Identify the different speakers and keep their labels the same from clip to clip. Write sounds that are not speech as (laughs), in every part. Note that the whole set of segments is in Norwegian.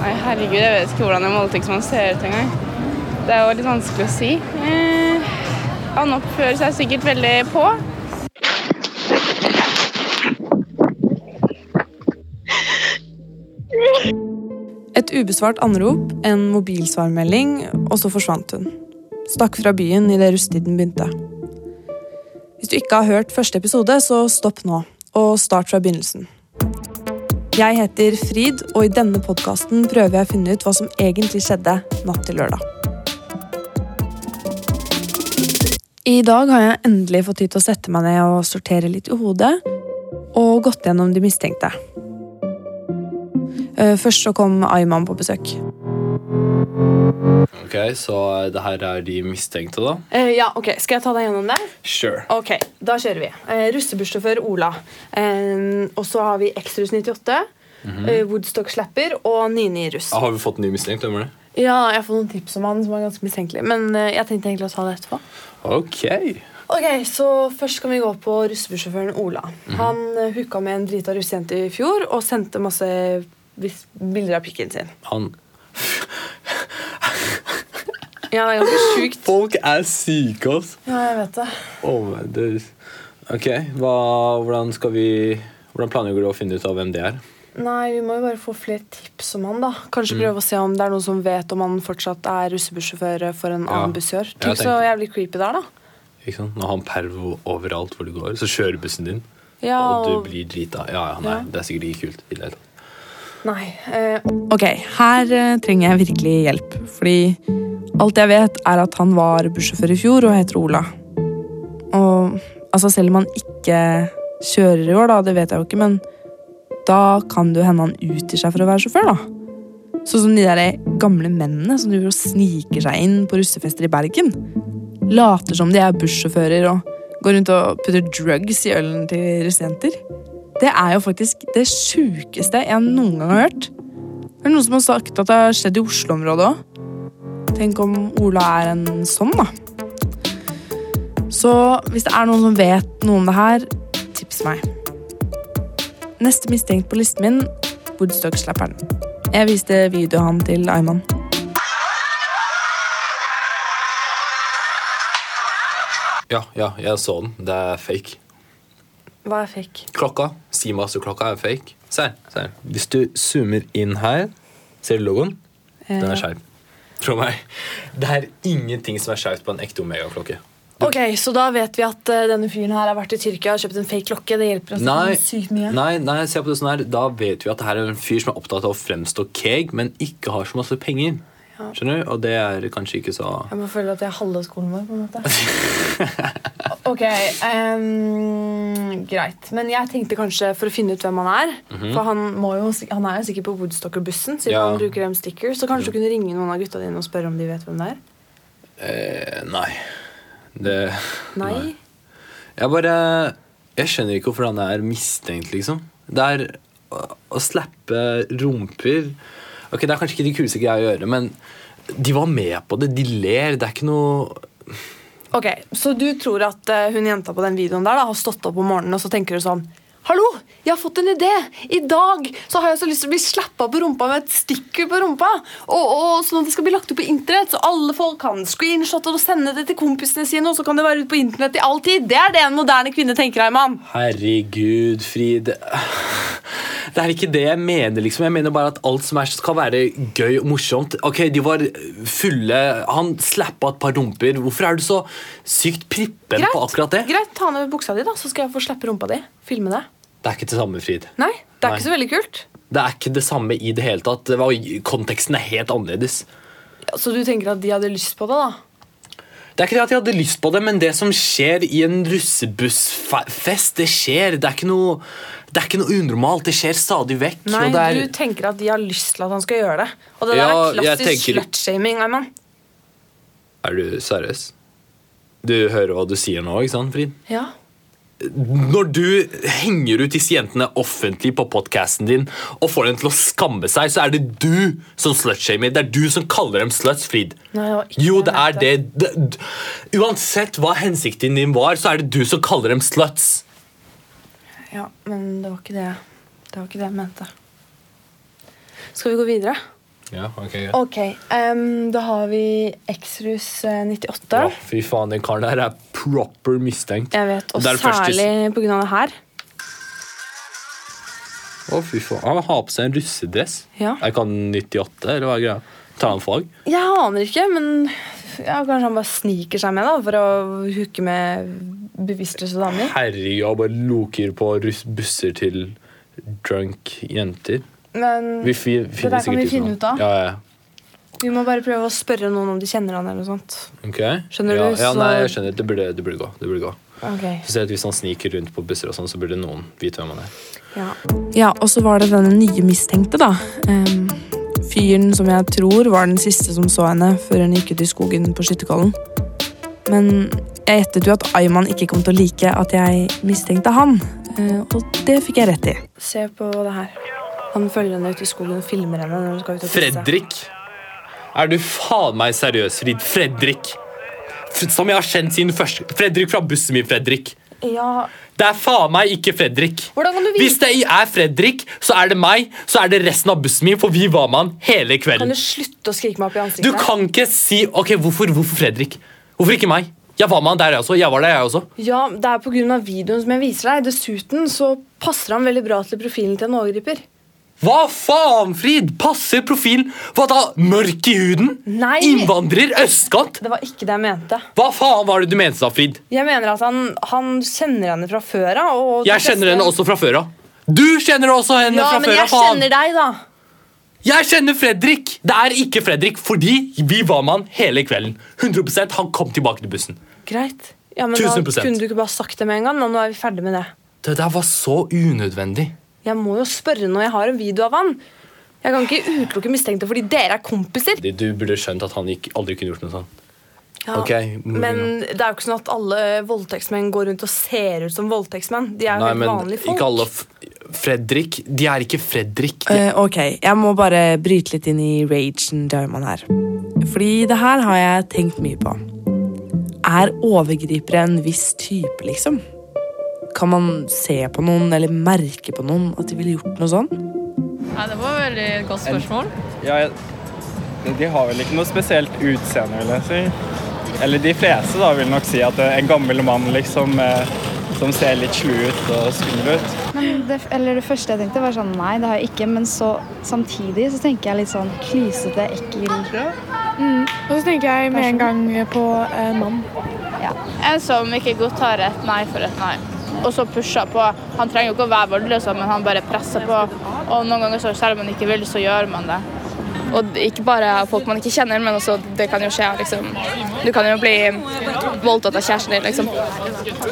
Speaker 1: Nei, herregud, jeg vet ikke hvordan en voldtektsmann ser ut engang. Det er jo litt vanskelig å si. Eh, han oppfører seg sikkert veldig på.
Speaker 2: Et ubesvart anrop, en mobilsvarmelding, og så forsvant hun. Stakk fra byen idet rusttiden begynte. Hvis du ikke har hørt første episode, så stopp nå, og start fra begynnelsen. Jeg heter Frid, og i denne podkasten prøver jeg å finne ut hva som egentlig skjedde natt til lørdag. I dag har jeg endelig fått tid til å sette meg ned og sortere litt i hodet, og gått gjennom de mistenkte. Eh, Først så kom Ayman på besøk.
Speaker 3: Ok, Så eh, det her er de mistenkte, da?
Speaker 4: Eh, ja, ok, Skal jeg ta deg gjennom det?
Speaker 3: Sure.
Speaker 4: Ok, Da kjører vi. Uh, Russebussjåfør Ola. Eh, og så har vi Extrus 98. eh, Woodstock Slapper og Nini Russ.
Speaker 3: Har vi fått en ny mistenkt? Hvem er det?
Speaker 4: Ja, Jeg har fått noen tips om han som var ganske mistenkelig. Men eh, jeg tenkte egentlig å ta det etterpå.
Speaker 3: Ok.
Speaker 4: Ok, så Først kan vi gå på russebussjåføren Ola. Han eh, hooka med en drita russejente i fjor og sendte masse vis- bilder av pikken sin.
Speaker 3: Han
Speaker 4: Ja, det er ganske sjukt.
Speaker 3: (laughs) Folk er syke, ass.
Speaker 4: Ja, jeg vet det.
Speaker 3: Oh my days. Ok, hva, hvordan skal vi Hvordan planlegger du å finne ut av hvem det er?
Speaker 4: Nei, vi må jo bare få flere tips om han, da. Kanskje
Speaker 3: Mm.
Speaker 4: prøve å se om det er noen som vet om han fortsatt er russebussjåfør for en annen bussjår.
Speaker 3: jeg
Speaker 4: Tenk så
Speaker 3: tenkte-
Speaker 4: jævlig creepy det er, da.
Speaker 3: Ikke sant? Nå har han pervo overalt hvor du går, så kjører bussen din.
Speaker 4: Ja,
Speaker 3: Og du
Speaker 4: og-
Speaker 3: blir drita. Ja, ja, nei,
Speaker 4: Ja.
Speaker 3: det er sikkert ikke kult. i det hele tatt.
Speaker 4: Nei. Eh,
Speaker 2: Ok, her eh, trenger jeg virkelig hjelp, fordi alt jeg vet er at han var bussjåfør i fjor og heter Ola. Og altså, selv om han ikke kjører i år, da, det vet jeg jo ikke, men da kan det jo hende han utgir seg for å være sjåfør, da. Sånn som de der gamle mennene som driver og sniker seg inn på russefester i Bergen. Later som de er bussjåfører og går rundt og putter drugs i ølen til russejenter. Det er jo faktisk det sjukeste jeg noen gang har hørt. Det er noen som har sagt at det har skjedd i Oslo-området òg. Tenk om Ola er en sånn, da. Så hvis det er noen som vet noe om det her, tips meg. Neste mistenkt på listen min Woodstock-slapperen. Jeg viste videoen han til Ayman.
Speaker 3: Ja, ja, jeg så den. Det er fake.
Speaker 4: hva jeg fikk.
Speaker 3: Klokka, Seamaster-klokka er fake. Se her. se her. Hvis du zoomer inn her, ser du logoen?
Speaker 4: Eh.
Speaker 3: Den er skeiv. Tro meg. Det er ingenting som er skeivt på en ekte omegaklokke.
Speaker 4: Ok, Så da vet vi at eh, denne fyren her har vært i Tyrkia og kjøpt en fake klokke. Altså, Det hjelper oss
Speaker 3: Nei,
Speaker 4: sykt mye.
Speaker 3: nei, nei, se på det sånn her. Da vet vi at det her er en fyr som er opptatt av å fremstå keeg, men ikke har så masse penger. Skjønner du? Og det er kanskje ikke så
Speaker 4: Jeg må føle at jeg er halve skolen vår, på en måte. (laughs) ok, ehm, greit. Men jeg tenkte kanskje for å finne ut hvem han er. For han, må jo, sik- han er jo sikkert på Woodstocker-bussen, siden
Speaker 3: Ja.
Speaker 4: han bruker dem stickers. Så kanskje du kunne ringe noen av gutta dine og spørre om de vet hvem det er?
Speaker 3: eh, Nei. Det
Speaker 4: Nei?
Speaker 3: Jeg bare Jeg skjønner ikke hvorfor han er mistenkt, liksom. Det er å, å slappe rumper Ok, Det er kanskje ikke de kuleste greia å gjøre, men de var med på det. De ler. Det er ikke noe
Speaker 4: Ok, Så du tror at eh, hun jenta på den videoen der da, har stått opp om morgenen og så tenker hun sånn Hallo, jeg har fått en idé! I dag så har jeg så lyst til å bli slappa på rumpa med et stikker på rumpa. Og, og Sånn at det skal bli lagt ut på internett, så alle folk kan screenshotte og sende det til kompisene sine. Og så kan det være ute på internett i all tid. Det er det en moderne kvinne tenker, Herman.
Speaker 3: Herregud, Frid. (laughs) Det er ikke det jeg mener. liksom Jeg mener bare at alt som er skal være gøy og morsomt. Ok, De var fulle. Han slappa et par rumper. Hvorfor er du så sykt prippen på akkurat det?
Speaker 4: greit, ta ned buksa di, da, så skal jeg få slappe rumpa di. Filme det.
Speaker 3: Det er ikke det samme, Frid.
Speaker 4: Nei, det er
Speaker 3: Nei.
Speaker 4: ikke så veldig kult.
Speaker 3: Det er ikke det samme i det hele tatt. Det var, konteksten er helt annerledes.
Speaker 4: Ja, Så du tenker at de hadde lyst på det, da?
Speaker 3: Det er ikke det at jeg hadde lyst på det, men det som skjer i en russebussfest, det skjer. Det er ikke noe, det er ikke noe unormalt. Det skjer stadig vekk.
Speaker 4: Nei,
Speaker 3: og det er,
Speaker 4: du tenker at de har lyst til at han skal gjøre det. Og det der
Speaker 3: Ja,
Speaker 4: er klassisk
Speaker 3: jeg tenker-
Speaker 4: slutshaming. Ayman.
Speaker 3: er du seriøs? Du hører hva du sier nå, ikke sant, Frid?
Speaker 4: Ja.
Speaker 3: Når du henger ut disse jentene offentlig på podcasten din og får dem til å skamme seg, så er det du som slutshamer. Det er du som kaller dem sluts, Frid.
Speaker 4: Nei, det var ikke
Speaker 3: Jo,
Speaker 4: det
Speaker 3: det
Speaker 4: jeg
Speaker 3: er
Speaker 4: mente.
Speaker 3: det. det. d- Uansett hva hensikten din var, så er det du som kaller dem sluts.
Speaker 4: Ja, men det var ikke det, det, var ikke det jeg mente. Skal vi gå videre?
Speaker 3: Ja, ok.
Speaker 4: Ok, em, da har vi Exrus eh, 98.
Speaker 3: Ja, fy faen, den karen der er proper mistenkt.
Speaker 4: Jeg vet, Og
Speaker 3: Det er det første-
Speaker 4: særlig pga. det her.
Speaker 3: Å, fy faen. Han har på seg en russedress.
Speaker 4: Ja.
Speaker 3: Jeg kan 98, eller hva er greia? Ta en fag.
Speaker 4: Jeg aner ikke, men ja, kanskje han bare sniker seg med da, for å hooke med bevisstløse damer.
Speaker 3: Herregud, han bare loker på russ busser til drunk jenter.
Speaker 4: Men
Speaker 3: Vi fi
Speaker 4: der
Speaker 3: finner
Speaker 4: kan vi
Speaker 3: sikkert
Speaker 4: finne
Speaker 3: noe.
Speaker 4: ut av.
Speaker 3: Ja, ja.
Speaker 4: vi må bare prøve å spørre noen om de kjenner han. eller noe sånt.
Speaker 3: Ok.
Speaker 4: Skjønner
Speaker 3: ja,
Speaker 4: du,
Speaker 3: Ja,
Speaker 4: så-
Speaker 3: nei, jeg skjønner. Det burde, det burde gå. Det burde gå.
Speaker 4: Ok,
Speaker 3: Spesielt hvis han sniker rundt på busser, og sånn, så burde noen vite hvem han er.
Speaker 4: ja.
Speaker 2: Ja, og så var det denne nye mistenkte, da. Ehm, fyren som jeg tror var den siste som så henne før hun gikk ut i skogen på Skytterkollen. Men jeg gjettet jo at Ayman ikke kom til å like at jeg mistenkte han. eh, og det fikk jeg rett i.
Speaker 4: Se på det her. Han følger henne ut i skogen og filmer henne. når hun skal ut og tisse.
Speaker 3: Fredrik! Er du faen meg seriøs, Frid? Fredrik! F- Som jeg har kjent siden første Fredrik fra bussen min, Fredrik.
Speaker 4: Ja,
Speaker 3: Det er faen meg ikke Fredrik.
Speaker 4: Hvordan kan du vite-
Speaker 3: Hvis det er Fredrik, så er det meg, så er det resten av bussen min, for vi var med han hele
Speaker 4: Kan
Speaker 3: kvelden.
Speaker 4: du slutte å skrike meg opp i
Speaker 3: Du
Speaker 4: ansiktet?
Speaker 3: kan ikke si Ok, hvorfor, hvorfor Fredrik? Hvorfor ikke meg? Jeg var med han der, jeg også. Jeg var der, jeg også.
Speaker 4: Ja, Det er pga. videoen som jeg viser deg. Dessuten så passer han veldig bra til profilen til en overgriper.
Speaker 3: Hva faen, Frid? Passer profilen? Hva da? Mørk i huden?
Speaker 4: Nei.
Speaker 3: Innvandrer? Østkant?
Speaker 4: Det var ikke det jeg mente.
Speaker 3: Hva faen var det du mente da, Frid?
Speaker 4: Jeg mener at han, han kjenner henne fra før av. og-
Speaker 3: Jeg kjenner henne også fra før av. Du kjenner også henne
Speaker 4: Ja,
Speaker 3: fra
Speaker 4: men
Speaker 3: før
Speaker 4: jeg
Speaker 3: av. faen.
Speaker 4: kjenner deg, da.
Speaker 3: Jeg kjenner Fredrik! Det er ikke Fredrik, fordi vi var med han hele kvelden. 100 Han kom tilbake til bussen.
Speaker 4: Greit. Ja, men
Speaker 3: 1000%.
Speaker 4: Da kunne du ikke bare sagt det med en gang. og Nå er vi ferdig med det.
Speaker 3: Det der var så unødvendig.
Speaker 4: Jeg må jo spørre når jeg har en video av han. Jeg kan ikke utelukke mistenkte fordi dere er kompiser.
Speaker 3: Du burde skjønt at han ikke- aldri kunne gjort noe sånn. sånt.
Speaker 4: Ja,
Speaker 3: Ok, mm,
Speaker 4: Men det er jo ikke sånn at alle voldtektsmenn går rundt og ser ut som voldtektsmenn. De er jo
Speaker 3: Nei,
Speaker 4: helt
Speaker 3: men
Speaker 4: vanlige folk.
Speaker 3: ikke alle f Fredrik De er ikke Fredrik.
Speaker 2: Eh, ok, jeg må bare bryte litt inn i ragen til Ayman her. Fordi det her har jeg tenkt mye på. Er overgripere en viss type, liksom? Kan man se på noen eller merke på noen at de ville gjort noe sånn?
Speaker 5: Nei, det var et veldig godt spørsmål.
Speaker 6: Ja, jeg- de- de har vel ikke noe spesielt utseende, vil jeg si. Eller de fleste da vil nok si at eh, en gammel mann liksom eh, som ser litt slu ut og skummel ut.
Speaker 7: Men det, eller det første jeg tenkte var sånn, nei, det har jeg ikke. Men så samtidig så tenker jeg litt sånn klysete, ekkel.
Speaker 8: Og så tenker jeg med en gang på eh, mann.
Speaker 1: En som ikke godtar et nei for et nei. Og så pusher på. Han trenger jo ikke å være voldelig, og sånn, men han bare presser på. Og noen ganger så selv om man ikke vil, så gjør man det. Og det- ikke bare folk man ikke kjenner, men også det kan jo skje, liksom. Du kan jo bli voldtatt av kjæresten din, liksom.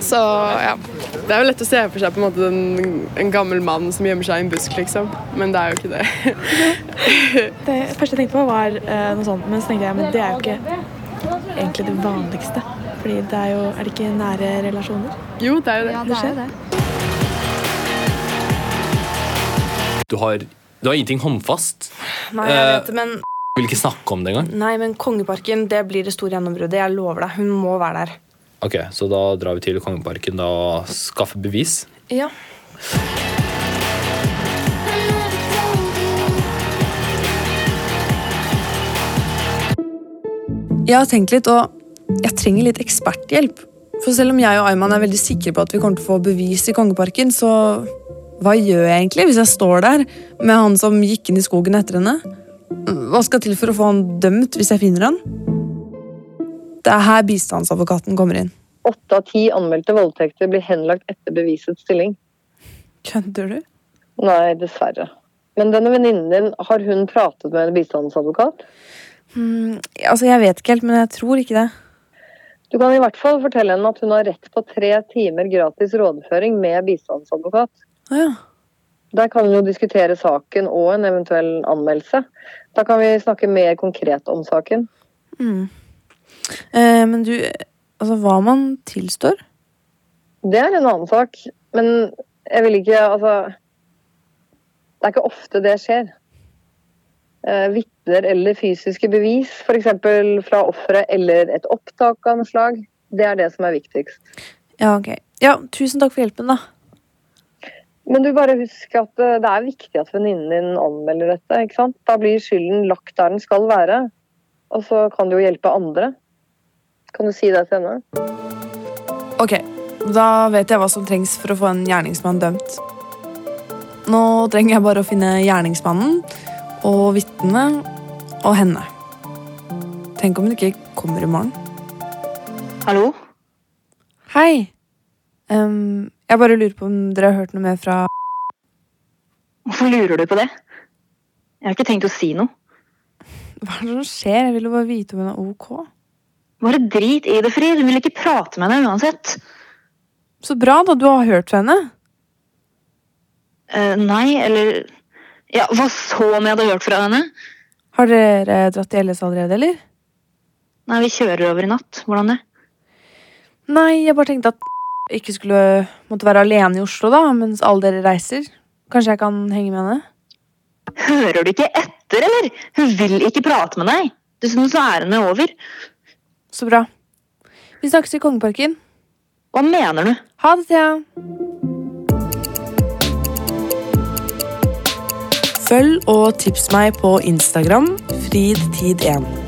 Speaker 8: Så ja. Det er jo lett å se for seg på en måte den, en gammel mann som gjemmer seg i en busk, liksom. Men det er jo ikke det. det første jeg tenkte på, var eh, noe sånt. Men så tenkte jeg men det er jo ikke egentlig det vanligste. Fordi det er jo Er det ikke nære relasjoner? Jo, det er jo det.
Speaker 7: Ja, det er jo det.
Speaker 3: Du har, du har ingenting håndfast.
Speaker 4: Nei, jeg vet det, men,
Speaker 3: Jeg vil ikke snakke om det engang.
Speaker 4: nei, men Kongeparken det blir det store gjennombruddet. Jeg lover deg. Hun må være der.
Speaker 3: Ok, Så da drar vi til Kongeparken da og skaffer bevis.
Speaker 4: Ja.
Speaker 2: Jeg har tenkt litt, og jeg trenger litt eksperthjelp. For selv om jeg og Ayman er veldig sikre på at vi kommer til å få bevis i Kongeparken, så hva gjør jeg egentlig hvis jeg står der med han som gikk inn i skogen etter henne? Hva skal til for å få han dømt hvis jeg finner han? Det er her bistandsadvokaten kommer inn.
Speaker 9: Åtte av ti anmeldte voldtekter blir henlagt etter bevisets stilling.
Speaker 2: Kødder du?
Speaker 9: Nei, dessverre. Men denne venninnen din, har hun pratet med en bistandsadvokat?
Speaker 2: Altså, Jeg vet ikke helt, men jeg tror ikke det.
Speaker 9: Du kan i hvert fall fortelle henne at hun har rett på tre timer gratis rådføring med bistandsadvokat.
Speaker 2: Å ja.
Speaker 9: Der kan hun jo diskutere saken og en eventuell anmeldelse. Da kan vi snakke mer konkret om saken.
Speaker 2: Mm. Eh, men du, altså hva man tilstår?
Speaker 9: Det er en annen sak, men jeg vil ikke Altså Det er ikke ofte det skjer. Eh, Vitner eller fysiske bevis, f.eks. fra offeret eller et opptak av noe slag, det er det som er viktigst.
Speaker 2: Ja, ok. Ja, tusen takk for hjelpen, da.
Speaker 9: Men du bare husk at eh, det er viktig at venninnen din anmelder dette. ikke sant? Da blir skylden lagt der den skal være. Og så kan du jo hjelpe andre. Kan du si det til henne?
Speaker 4: Ok, da vet jeg hva som trengs for å få en gjerningsmann dømt. Nå trenger jeg bare å finne gjerningsmannen og vitnene og henne. Tenk om hun ikke kommer i morgen.
Speaker 10: Hallo?
Speaker 4: Hei. Ehm, jeg bare lurer på om dere har hørt noe mer fra
Speaker 10: Hvorfor lurer du på det? Jeg har ikke tenkt å si noe.
Speaker 4: Hva er det som skjer? Jeg ville bare vite om hun er ok.
Speaker 10: Bare drit i det, Frid. Hun vil ikke prate med henne uansett.
Speaker 4: Så bra, da. Du har hørt fra henne.
Speaker 10: Eh, nei, eller Ja, hva så om jeg hadde hørt fra henne?
Speaker 4: Har dere dratt til LS allerede, eller?
Speaker 10: Nei, vi kjører over i natt. Hvordan det?
Speaker 4: Nei, jeg bare tenkte at ikke skulle måtte være alene i Oslo, da, mens alle dere reiser. Kanskje jeg kan henge med henne?
Speaker 10: Hører du ikke etter, eller? Hun vil ikke prate med deg. Dessuten så er hun jo over.
Speaker 4: Så bra. Vi snakkes i Kongeparken.
Speaker 10: Hva mener du?
Speaker 4: Ha det, Thea. Følg og tips meg på Instagram fridtid1.